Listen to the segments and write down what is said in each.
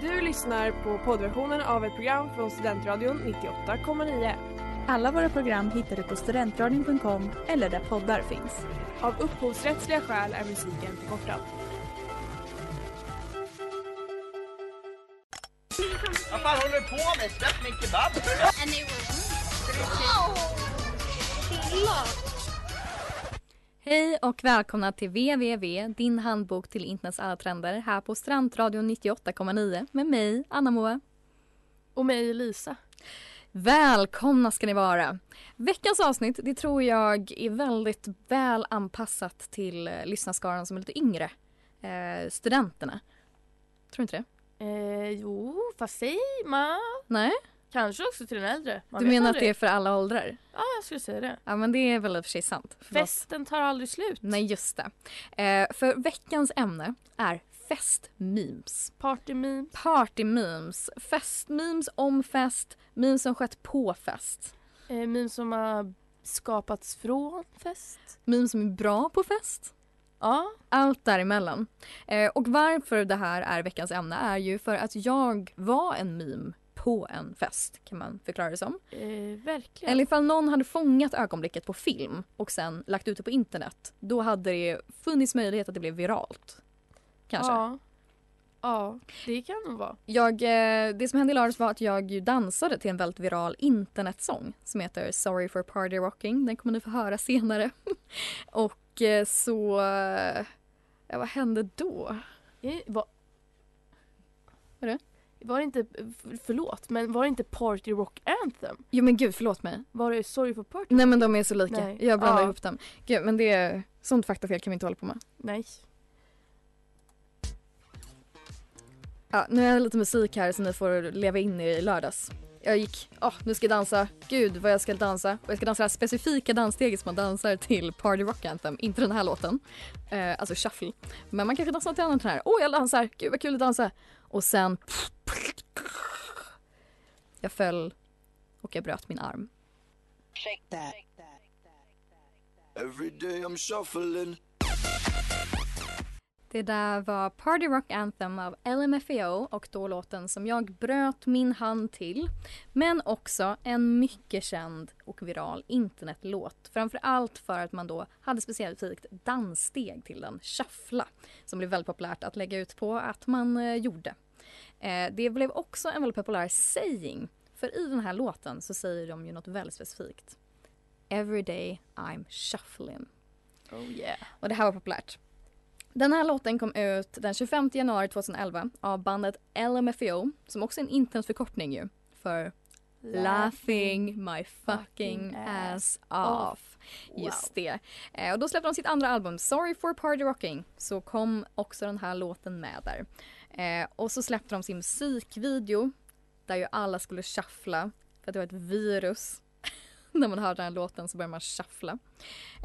Du lyssnar på poddversionen av ett program från Studentradion 98,9. Alla våra program hittar du på studentradion.com eller där poddar finns. Av upphovsrättsliga skäl är musiken förkortad. Vad fan håller du på med? Släpp min kebab! and they were Hej och välkomna till www, din handbok till internets alla trender här på Strandradion 98,9 med mig, Anna Moa. Och mig Lisa. Välkomna ska ni vara! Veckans avsnitt, det tror jag är väldigt väl anpassat till eh, lyssnarskaran som är lite yngre. Eh, studenterna. Tror du inte det? Eh, jo, fast säg man. Nej? Kanske också till den äldre. Man Du vet menar att aldrig. det är för alla åldrar? Ja, jag skulle säga det. Ja men det är väl i och för sig sant. För vad- Festen tar aldrig slut. Nej just det. Eh, för veckans ämne är festmemes. Party meme. Partymemes, festmemes om fest, memes som skett på fest. Eh, meme som har skapats från fest. Memes som är bra på fest. Ja, Allt däremellan. Eh, och varför det här är veckans ämne är ju för att jag var en meme på en fest kan man förklara det som. eh, verkligen. Eller ifall någon hade fångat ögonblicket på film och sen lagt ut det på internet. Då hade det funnits möjlighet att det blev viralt. Kanske. Ja. ja, det kan nog vara. Jag, eh, det som hände i lördags var att jag ju dansade till en väldigt viral internetsång som heter Sorry for party rocking. Den kommer ni få höra senare. Och eh, så... eh, Ja, vad hände då? Eh, Var... Är det? Var det inte, f- förlåt, men var det inte Party Rock Anthem? Jo men gud, förlåt mig. Var det Sorry for Party? Nej men de är så lika. Nej. Jag blandar Ja. ihop dem. Gud, men det är... Sånt faktafel kan vi inte hålla på med. Nej. Ja, nu är det lite musik här som ni får leva in i lördags. Jag gick, åh, nu ska jag dansa. Gud vad jag ska dansa. Och jag ska dansa det här specifika danssteget som man dansar till Party Rock Anthem. Inte den här låten. Eh, alltså shuffle. Men man kanske dansar till något här. Åh, jag dansar. Gud vad kul att dansa. Och sen... Jag föll och jag bröt min arm. Every day I'm shuffling Det där var Party Rock Anthem av LMFAO och då låten som jag bröt min hand till. Men också en mycket känd och viral internetlåt. Framförallt för att man då hade specifikt danssteg till den, shuffla, som blev väldigt populärt att lägga ut på att man eh, gjorde. Eh, det blev också en väldigt populär saying, för i den här låten så säger de ju något väldigt specifikt. Every day I'm shuffling. Oh yeah. Och det här var populärt. Den här låten kom ut den 25 januari 2011 av bandet LMFAO som också är en internetförkortning ju för Laughing My Fucking Ass Off. Just det. Eh, Och då släppte de sitt andra album Sorry for Party Rocking så kom också den här låten med där. Eh, Och så släppte de sin musikvideo där ju alla skulle shuffla för att det var ett virus. När man hör den här låten så börjar man shuffla.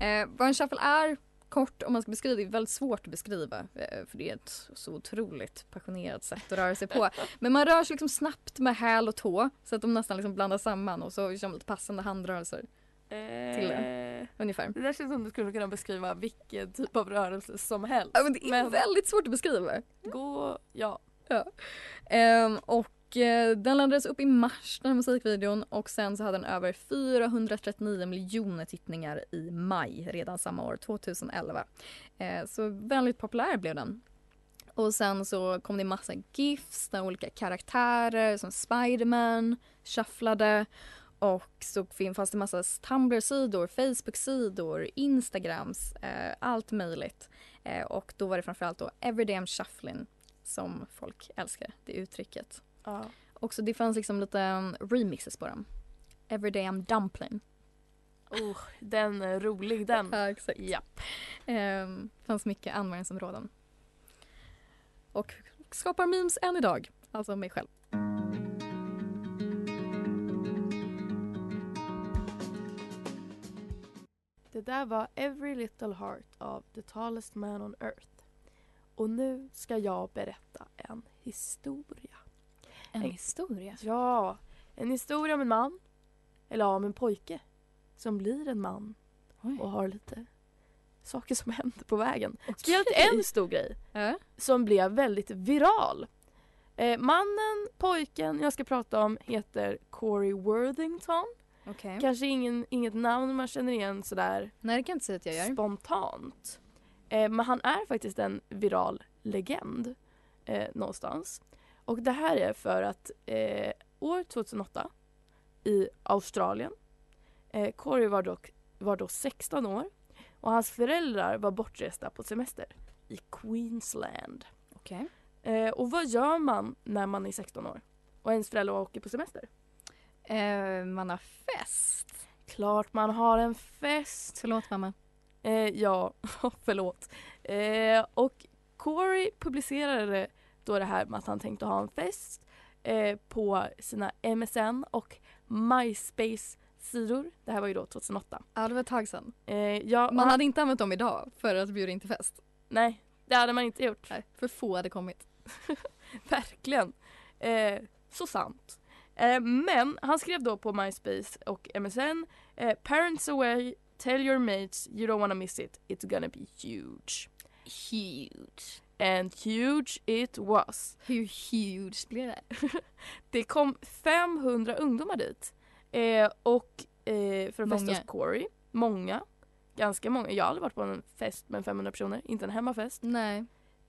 Eh, vad en shuffle är kort om man ska beskriva det är väldigt svårt att beskriva eh, för det är ett så otroligt passionerat sätt att röra sig på. Men man rör sig liksom snabbt med häl och tå så att de nästan liksom blandas samman och så kör man lite passande handrörelser Eh, Till ungefär. Det där känns som du skulle kunna beskriva vilken typ av rörelse som helst. Ja, men det är väldigt svårt att beskriva. gå, ja. Ehm, och eh, den laddades upp i mars den här musikvideon och sen så hade den över 439 miljoner tittningar i maj redan samma år, 2011. Eh, så väldigt populär blev den. Och sen så kom det massa GIFs där olika karaktärer som Spiderman shufflade och så fin- fanns det massa Tumblr-sidor, Facebook-sidor, Instagrams, eh, allt möjligt. Eh, och då var det framförallt då Everyday I'm Shuffling som folk älskar, det uttrycket. ja. Och så det fanns liksom lite um, remixes på dem. Everyday I'm dumpling. Oh, den är rolig den. Ja, exakt. Mm. Ja. Ehm, fanns mycket användningsområden. Och skapar memes än idag, alltså mig själv. Det där var Every Little Heart av The Tallest Man on Earth. Och nu ska jag berätta en historia. En Ej. historia. Ja, en historia om en man. Eller ja, om en pojke. Som blir en man och har lite saker som händer på vägen. Ska jag till en stor grej Ja. som blev väldigt viral. Eh, mannen, pojken jag ska prata om heter Corey Worthington. Okej. Kanske ingen, inget namn man känner igen sådär Nej, det kan jag inte säga att jag gör. spontant. Eh, men han är faktiskt en viral legend eh, någonstans. Och det här är för att eh, år 2008 i Australien, eh, Corey var, dock, var då 16 år och hans föräldrar var bortresta på semester i Queensland. Okej. Eh, och vad gör man när man är 16 år och ens föräldrar åker på semester? Eh, man har fest. Klart man har en fest! Förlåt mamma. Eh, ja, förlåt. Eh, och Corey publicerade då det här med att han tänkte ha en fest eh, på sina MSN och MySpace-sidor. Det här var ju då 2008. Ja, det var ett tag sedan. Eh, ja, och Man han- hade inte använt dem idag för att bjuda in till fest. Nej, det hade man inte gjort. Nej, för få hade kommit. Verkligen. Eh, så sant. Eh, men han skrev då på MySpace och MSN eh, Parents away, tell your mates you don't wanna miss it, it's gonna be huge. Huge. And huge it was. Hur huge blir det? Det kom 500 ungdomar dit. Eh, och eh, för att festa Många. hos Corey. Många. Ganska många. Jag har aldrig varit på en fest med 500 personer. Inte en hemmafest. Nej.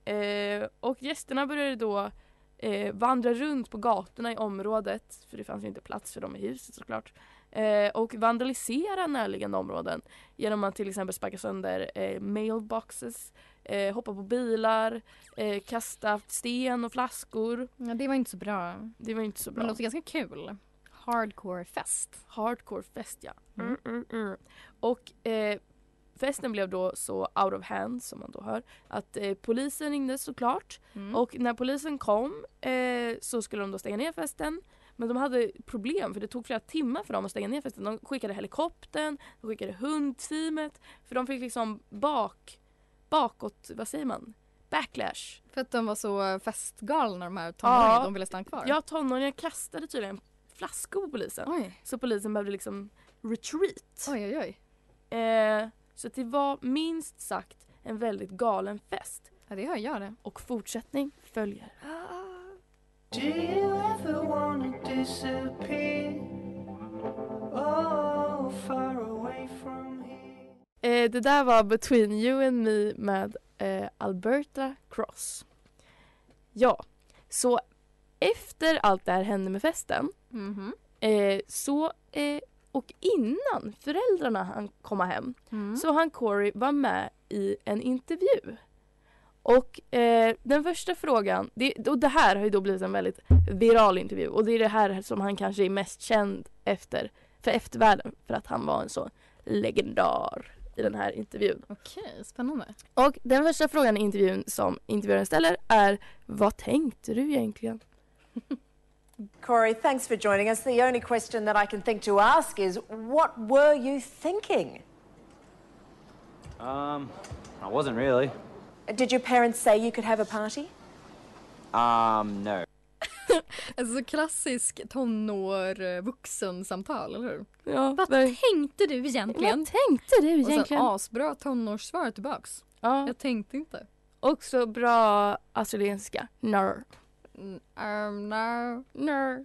Eh, och gästerna började då eh, vandra runt på gatorna i området. För det fanns ju inte plats för dem i huset såklart. Eh, och vandalisera närliggande områden. Genom att till exempel sparka sönder eh, mailboxes. Eh, hoppa på bilar. Eh, kasta sten och flaskor. Ja, det var inte så bra. Det var inte så Men det bra. låter ganska kul. Hardcore fest. Hardcore fest ja. Mm. Mm, mm, mm. Och eh, festen blev då så out of hand som man då hör att eh, polisen ringde såklart Mm. och när polisen kom eh, så skulle de då stänga ner festen men de hade problem för det tog flera timmar för dem att stänga ner festen. De skickade helikoptern, de skickade hundteamet för de fick liksom bak, bakåt, vad säger man? Backlash. För att de var så festgalna de här tonåringarna. Ja. De ville stanna kvar. Ja, tonåringar kastade tydligen flaskor på polisen Oj, så polisen behövde liksom retreat. oj, oj. oj. Eh, så att det var minst sagt en väldigt galen fest. Ja, det hör jag det. Och fortsättning följer. Do you ever wanna disappear? Oh, far away from here. Eh, det där var Between You and Me med eh, Alberta Cross. Ja, så efter allt det här hände med festen Mhm. eh, så, eh, och innan föräldrarna han komma hem Mm. Så han Corey var med i en intervju. Och eh, den första frågan, det, och det här har ju då blivit en väldigt viral intervju och det är det här som han kanske är mest känd efter, för eftervärlden, för att han var en sån legendar i den här intervjun. Okej, spännande. Och den första frågan i intervjun som intervjuaren ställer är Vad tänkte du egentligen? Corey, thanks for joining us. The only question that I can think to ask is what were you thinking? Um, I wasn't really. Did your parents say you could have a party? Um, no. Alltså så klassisk tonår vuxen samtal, eller hur? Ja, Vad ver- tänkte du egentligen? vad tänkte du Och sen egentligen? asbra tonårssvar tillbaks. ja, Jag tänkte inte. också bra australienska. Nar. Mm, Um, no. No,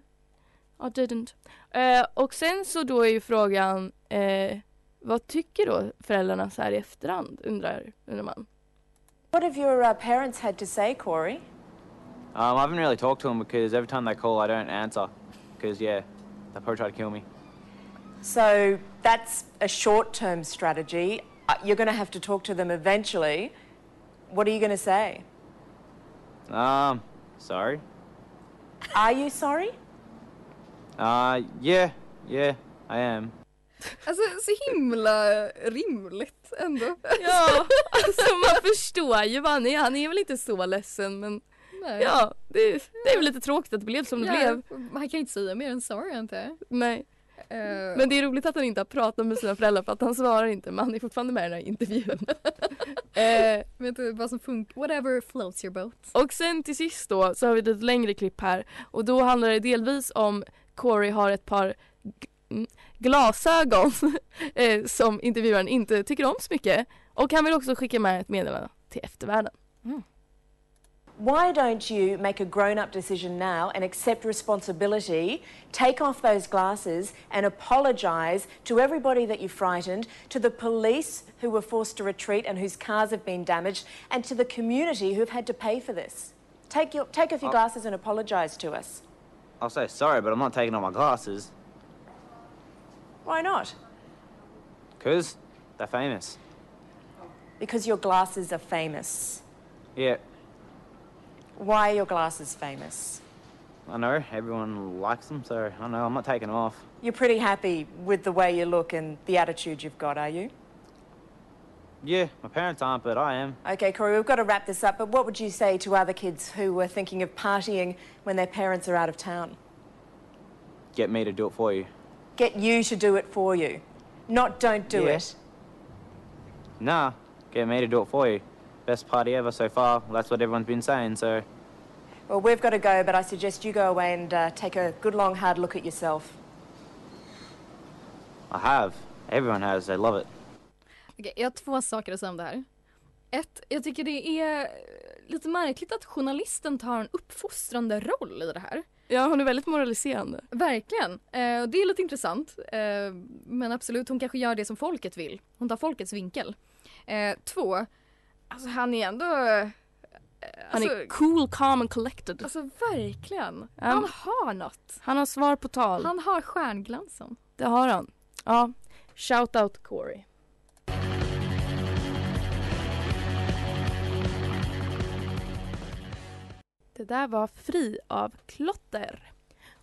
I didn't. Eh, och sen så då är ju frågan, eh, vad tycker då föräldrarna så här i efterhand, undrar, undrar man. What have your uh, parents had to say, Corey? Um, I haven't really talked to them because every time they call, I don't answer. Because, yeah, they probably try to kill me. So that's a short term strategy. Uh, You're going to have to talk to them eventually. What are you going to say? Um, sorry. Are you sorry? Uh, yeah, yeah, I am. Alltså så himla rimligt ändå. Ja, alltså man förstår ju vad han är. Han är väl inte så ledsen men Nej. ja, det, det är väl lite tråkigt att det blev som det blev. Han kan inte säga mer än sorry antar jag. Nej. Eh, Men det är roligt att han inte har pratat med sina föräldrar för att han svarar inte men han är fortfarande med i den här intervjun. eh, Vet du vad som funkar? Whatever floats your boat. Och sen till sist då så har vi ett lite längre klipp här och då handlar det delvis om Corey har ett par g- mm, glasögon eh, som intervjuaren inte tycker om så mycket och han vill också skicka med ett meddelande till eftervärlden. Why don't you make a grown up decision now and accept responsibility, take off those glasses and apologise to everybody that you frightened, to the police who were forced to retreat and whose cars have been damaged, and to the community who've had to pay for this? Take, your, take off your glasses and apologise to us. I'll say sorry, but I'm not taking off my glasses. Why not? Because they're famous. Because your glasses are famous. Yeah, Why are your glasses famous? I know. Everyone likes them, so I know. I'm not taking them off. You're pretty happy with the way you look and the attitude you've got, are you? Yeah, my parents aren't, but I am. Okay, Corey, we've got to wrap this up, but what would you say to other kids who were thinking of partying when their parents are out of town? Get me to do it for you. Get you to do it for you, not don't do Yeah. it. Nah, get me to do it for you. Best party ever so far. That's what everyone's been saying, so. Well, we've got to go, but I suggest you go away and uh, take a good, long, hard look at yourself. I have. Everyone has. They love it. Okej, jag har två saker att säga om det här. Ett, jag tycker det är eh, lite märkligt att journalisten tar en uppfostrande roll i det här. Ja, hon är väldigt moraliserande. Verkligen. Eh, och det är lite intressant. Eh, men absolut, hon kanske gör det som folket vill. Hon tar folkets vinkel. Eh, två, alltså han är ändå... eh, Han alltså, är cool, calm and collected. alltså verkligen. Han har något. Han har svar på tal. Han har stjärnglansen. Det har han. Ja. Shout out Corey. Det där var Fri av klotter.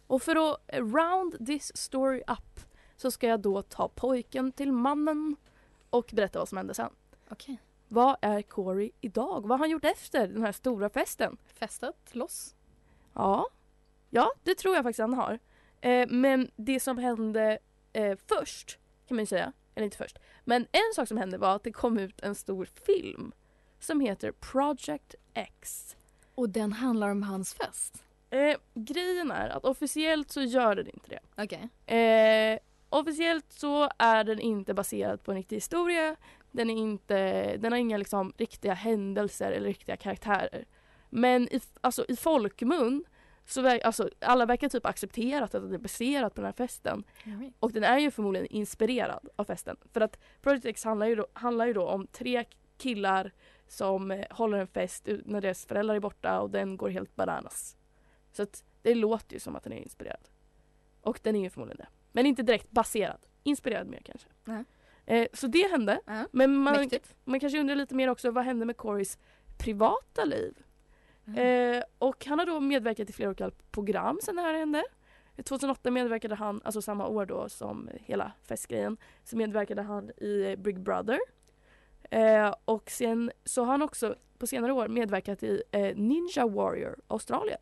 Och för att round this story up så ska jag då ta pojken till mannen och berätta vad som hände sen. Okej. Vad är Corey idag? Vad har han gjort efter den här stora festen? Festat loss. Ja, ja det tror jag faktiskt han har. Eh, men det som hände eh, först, kan man ju säga, eller inte först, men en sak som hände var att det kom ut en stor film som heter Project X. Och den handlar om hans fest. Eh, grejen är att officiellt så gör den inte det. Okej. Eh, officiellt så är den inte baserad på en riktig historia. Den, är inte, den har inga liksom, riktiga händelser eller riktiga karaktärer. Men i, alltså, i folkmun så ver- alltså, alla verkar typ ha accepterat att den är baserad på den här festen. Och den är ju förmodligen inspirerad av festen. För att Project X handlar ju då, handlar ju då om tre killar som eh, håller en fest ut- när deras föräldrar är borta och den går helt bananas. Så att det låter ju som att den är inspirerad. Och den är ju förmodligen det. Men inte direkt baserad. Inspirerad mer kanske. Nej. Eh, så det hände. Ja. Men man, Mäktigt. man kanske undrar lite mer också vad hände med Corys privata liv? Eh, och han har då medverkat i flera olika program sen det här hände. 2008 medverkade han, alltså samma år då som hela festgrejen, så medverkade han i Big Brother. Eh, och sen så har han också på senare år medverkat i eh, Ninja Warrior Australien.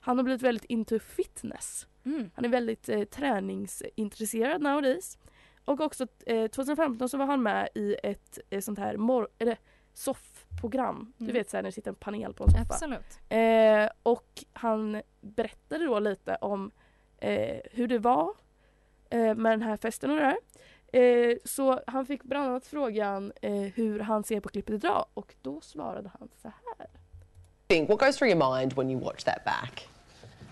Han har blivit väldigt into fitness. Mm. Han är väldigt eh, träningsintresserad nowadays. Och också eh, 2015 så var han med i ett eh, sånt här mor- eller, soffprogram. Du Mm. vet såhär när det sitter en panel på en soffa. Absolut. Eh, och han berättade då lite om eh, hur det var eh, med den här festen och det här. Eh, så han fick bland annat frågan eh, hur han ser på klippet idag och då svarade han så här. think? What goes through your mind when you watch that back?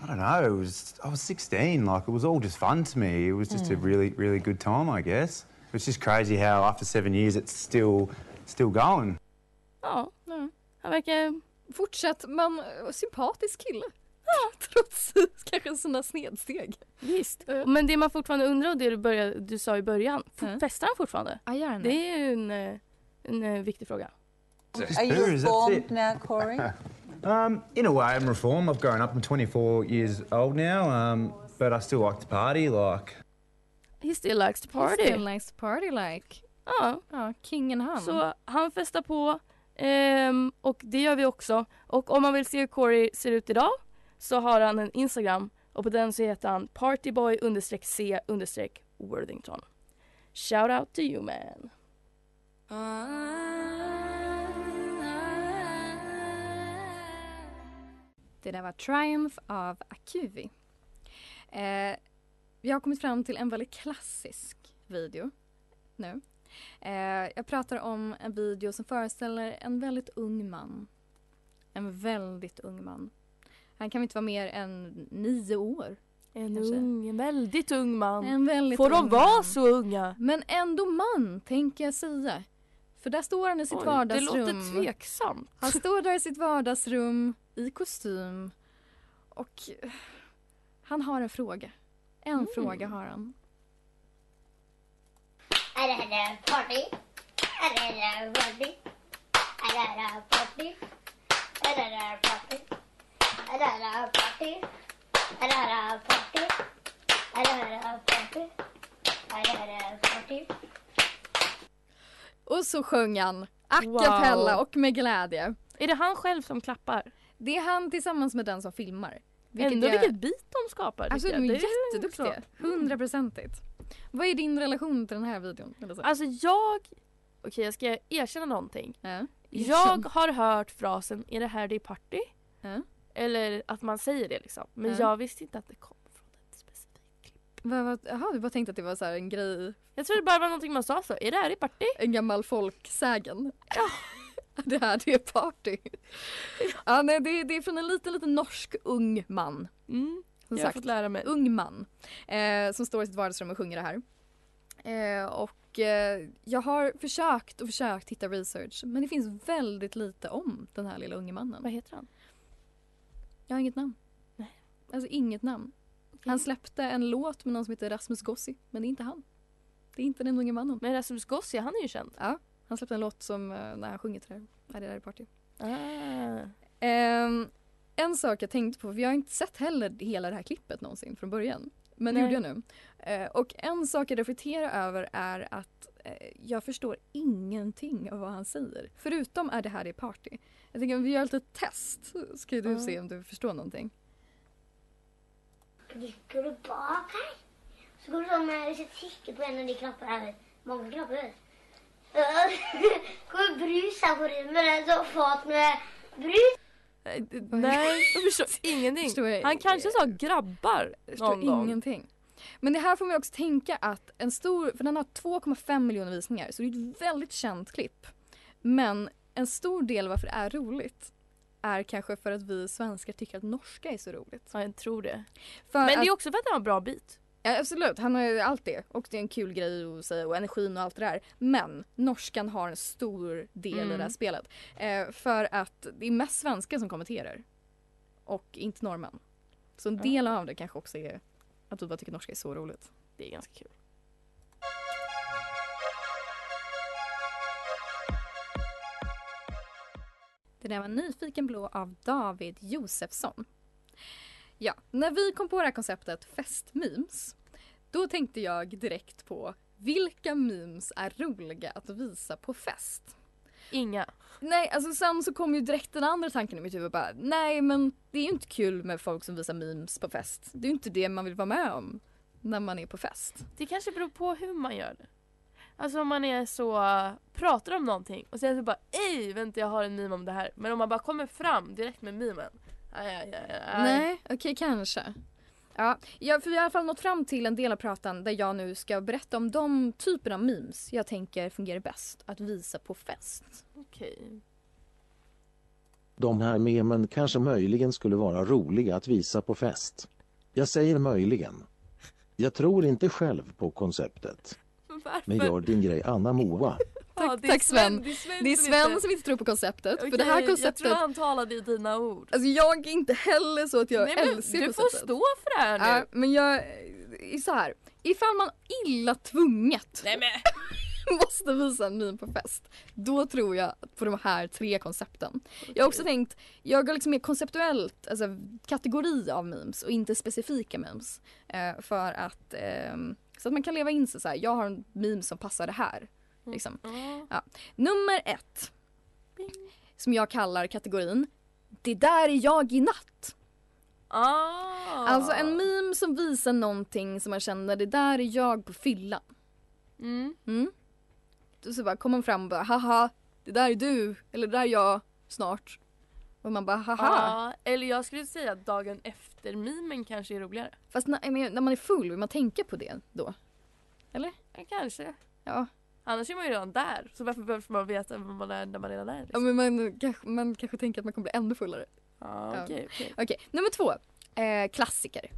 I don't know. It was, I was 16. Like, it was all just fun to me. It was just a really, really good time, I guess. It's just crazy how after seven years it's still, still going. Ja, han verkar Fortsatt man sympatisk kille. Trots kanske sina snedsteg. Visst. Eh, Men det man fortfarande undrar och det du, började, du sa i början, f- Mm. festar han fortfarande? Ja, gör Det är ju en, eh, en eh, viktig fråga. Just booze, that's it. now, Corey? Um, in a way, I'm reformed. I've grown up. I'm 24 years old now. Um, but I still like to party. Like, He still likes to party. Still nice party like. Ja, Ja, kingen han. så han festar på ehm, och det gör vi också. Och om man vill se hur Corey ser ut idag så har han en Instagram och på den så heter han partyboy-c-worthington. Shout out to you man. Det där var Triumph av Akuvi. Eh, vi har kommit fram till en väldigt klassisk video nu. Eh, jag pratar om en video som föreställer en väldigt ung man. En väldigt ung man. Han kan väl inte vara mer än nio år? En Kanske. ung, en väldigt ung man. En väldigt Liksom. Får de ung vara man. så unga? Men ändå man, tänker jag säga. För där står han i sitt Oj, det vardagsrum. låter tveksamt. Han står där i sitt vardagsrum i kostym och eh, han har en fråga. En Mm. fråga har han. Är det här party? Är det här party? Är det här party? Är det här party? Är det här party? Är det här party? Är det här party? Är det här party? Och så sjöng han a cappella Wow. och med glädje. Är det han själv som klappar? Det är han tillsammans med den som filmar. Ändå jag- vilket liksom. beat de skapar. Alltså tycker de är jag. Det är jätteduktiga. Hundraprocentigt. Vad är din relation till den här videon? Elisa? Alltså jag... Okej, jag ska erkänna någonting. Ja. Jag har hört frasen “Är det här det är party?” Ja. Eller att man säger det liksom. Men Ja. jag visste inte att det kom från ett specifikt. Vad- vad- Jaha, du bara tänkte att det var så här en grej, Jag tror det bara var någonting man sa så. “Är det här det är party?” en gammal folksägen. det här det är party. ja, nej, det, det är från en liten, liten norsk ung man. Mm. Som jag har sagt, fått lära mig. ung man eh, som står i sitt vardagsrum och sjunger det här. Eh, och eh, jag har försökt och försökt hitta research men det finns väldigt lite om den här lilla unge mannen. Vad heter han? Jag har inget namn. Nej. Alltså inget namn. Han släppte en låt med någon som heter Rasmus Gossi men det är inte han. Det är inte den unge mannen. Men Rasmus Gossi, han är ju känd. Han släppte en låt som, eh, när han sjunger till det här. Nej, det där är party. Ah. Ehm, en sak jag tänkte på, för jag har inte sett heller hela det här klippet någonsin från början. Men det Nej. gjorde jag nu. Eh, och en sak jag reflekterar över är att eh, jag förstår ingenting av vad han säger. Förutom är det här är party. Jag tänker om vi gör ett litet test så ska du Ja. se om du förstår någonting. Dricker du bak her? Så kommer sånn eh, Hvis jeg trykker på en av de knappene her vet du, Mange knapper, vet du. Eh, kommer brus her på rymmet. Det er så fat med brus. Nej, det- Nej, jag förstår ingenting. Förstår jag- Han kanske sa grabbar Jag förstår någon gång. ingenting. Men det här får man också tänka att en stor, för den har 2,5 miljoner visningar så det är ett väldigt känt klipp. Men en stor del varför det är roligt är kanske för att vi svenskar tycker att norska är så roligt. Ja, jag tror det. För Men det att, är också för att han har bra beat. ja, absolut, han har ju allt det och det är en kul grej att säga och energin och allt det där. Men norskan har en stor del i Mm. det här spelet. Eh, för att det är mest svenskar som kommenterar och inte norrmän. Så en Ja. del av det kanske också är att vi bara tycker norska är så roligt. Det är ganska kul. Det där var Nyfiken blå av David Josefsson. Ja, när vi kom på det här konceptet festmemes, då tänkte jag direkt på vilka memes är roliga att visa på fest? Inga. Nej, alltså sen så kom ju direkt den andra tanken i mitt huvud bara nej men det är ju inte kul med folk som visar memes på fest. Det är ju inte det man vill vara med om när man är på fest. Det kanske beror på hur man gör det. Alltså om man är så, eh, pratar om någonting och sen så bara ej vänta jag har en meme om det här. Men om man bara kommer fram direkt med memen. Aj, aj, aj, aj. Nej, okej kanske. Ja, ja, för vi har i alla fall nått fram till en del av pratan där jag nu ska berätta om de typer av memes jag tänker fungerar bäst att visa på fest. Okej. De här memen kanske möjligen skulle vara roliga att visa på fest. Jag säger möjligen. Jag tror inte själv på konceptet. Men varför? Men gör din grej Anna Moa. Ja, det är Tack, Sven. Det är Sven, Det är som Sven inte- som inte tror på konceptet för det Okej, här Jag konceptet, tror jag han talade i dina ord. alltså jag är inte heller så att jag Nej, men älskar du får konceptet. stå för det här nu. Ja, men jag, är så här. ifall man illa tvunget Nej, men. måste visa en meme på fest, då tror jag på de här tre koncepten. Jag har också tänkt, jag har liksom mer konceptuellt, alltså kategori av memes och inte specifika memes. Eh, för att, ehm, så att man kan leva in sig så här. jag har en meme som passar det här. Liksom. Ja. Nummer ett, som jag kallar kategorin, det där är jag i natt. Ah. Alltså en meme som visar någonting som man känner, det där är jag på fyllan. Mm. Mm. Och Så bara kommer man fram och bara haha, det där är du, eller det där är jag snart. Och man bara haha. Ja, eller jag skulle säga att dagen efter mimen kanske är roligare. Fast när, men när man är full vill man tänka på det då. Ja, kanske. Ja. Annars är man ju redan där. Så varför behöver man veta vad man är när man redan är? Liksom? Ja, men man, kanske, man kanske tänker att man kommer bli ännu fullare. Ja, okej, okej. Okej, nummer två. Eh, klassiker.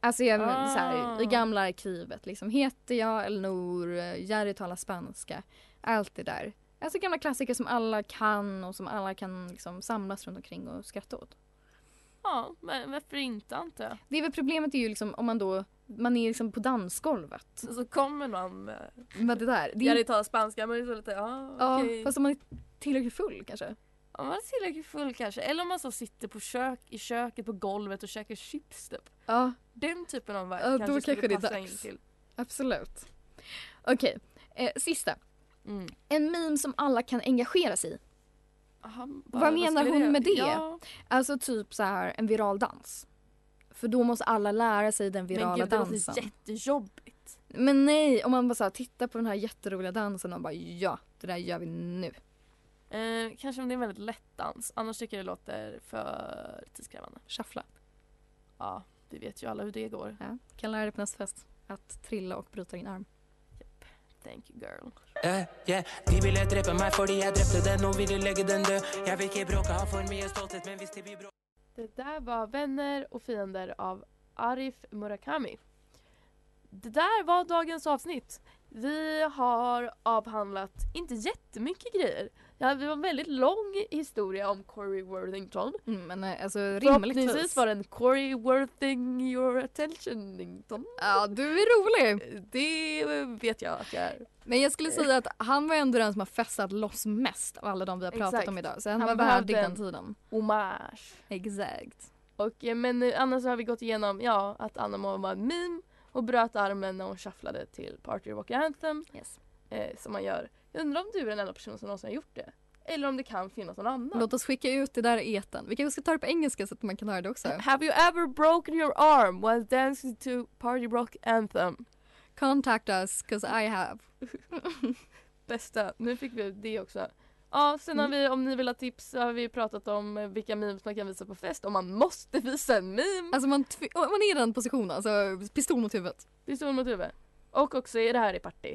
Alltså jag, men, så här, i Ah. gamla arkivet liksom. Heter jag Elnor? eh, Jerry talar spanska. Allt det där. Alltså gamla klassiker som alla kan och som alla kan liksom samlas runt omkring och skratta åt. Ja, men varför inte antar jag? Det är väl problemet är ju liksom om man då, man är liksom på dansgolvet. Så, så kommer någon med... Med det där. Det är, Jag talar spanska men det är så lite, ja ja, okej. fast om man är tillräckligt full kanske. Om man är tillräckligt full kanske. Eller om man så sitter på kök, i köket på golvet och käkar chips typ. Ja, Den typen av vibe Ja, då kanske skulle kanske det är passa dags. in till. absolut. Okej, eh, sista. Mm. En meme som alla kan engagera sig i. Aha, bara, Vad, menar skulle hon jag- med det? Ja, Alltså typ så här en viral dans. För då måste alla lära sig den virala men gud det dansen. låter jättejobbigt. Men nej, om man bara så här, tittar på den här jätteroliga dansen och bara ja, det där gör vi nu. Eh, kanske om det är en väldigt lätt dans. Annars tycker jag det låter för tidskrävande. Shuffla. Ja, vi vet ju alla hur det går. Ja. Kan lära dig på nästa fest att trilla och bryta din arm. Thank you girl. Eh, yeah. De ville drepe meg fordi jeg drepte den. Nå vil de legge den død. Jeg vil ikke bråke, har for mye stolthet, men hvis det blir bråk Det där var Vänner och fiender av Arif Murakami. Det där var dagens avsnitt. Vi har avhandlat inte jättemycket grejer. Ja, det var en väldigt lång historia om Corey Worthington. Mm, men eh, alltså rimligtvis. Förhoppningsvis var den Corey Worthing your attentionington. Ja, du är rolig. Det vet jag att jag är. Men jag skulle säga att han var ändå den som har festat loss mest av alla de vi har pratat Exakt. om idag. Så han, Han var värdig behövde den en- tiden. Hommage. Exakt. Och, eh, men eh, annars har vi gått igenom ja, att Anna Moa var en meme och bröt armen när hon shufflade till Party Rock Anthem. Yes. Eh, som man gör. Jag undrar om du är den enda personen som någonsin har gjort det? Eller om det kan finnas någon annan? Låt oss skicka ut det där i etern. Vi kanske ska ta det på engelska så att man kan höra det också. Have you ever broken your arm while dancing to Party Rock Anthem? Contact us, cause I have. Bästa, nu fick vi det också. Ja, sen har Mm. vi, om ni vill ha tips så har vi pratat om eh, vilka memes man kan visa på fest om man måste visa en meme. Alltså man, tv- om man är i den positionen, alltså pistol mot huvudet. Pistol mot huvud. Och också, är det här i party?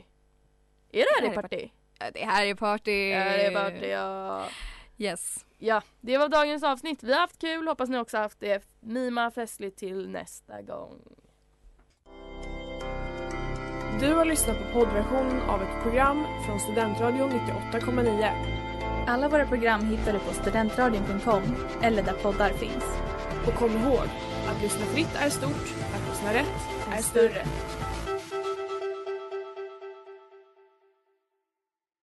Är det här i party? Ja, Det här är party! Är det här i party, ja. Yes. Ja, det var dagens avsnitt. Vi har haft kul, hoppas ni också har haft det. Mima festligt till nästa gång. Du har lyssnat på poddversionen av ett program från Studentradion 98,9. Alla våra program hittar du på studentradion.com eller där poddar finns. Och kom ihåg, att lyssna fritt är stort, att lyssna rätt är större.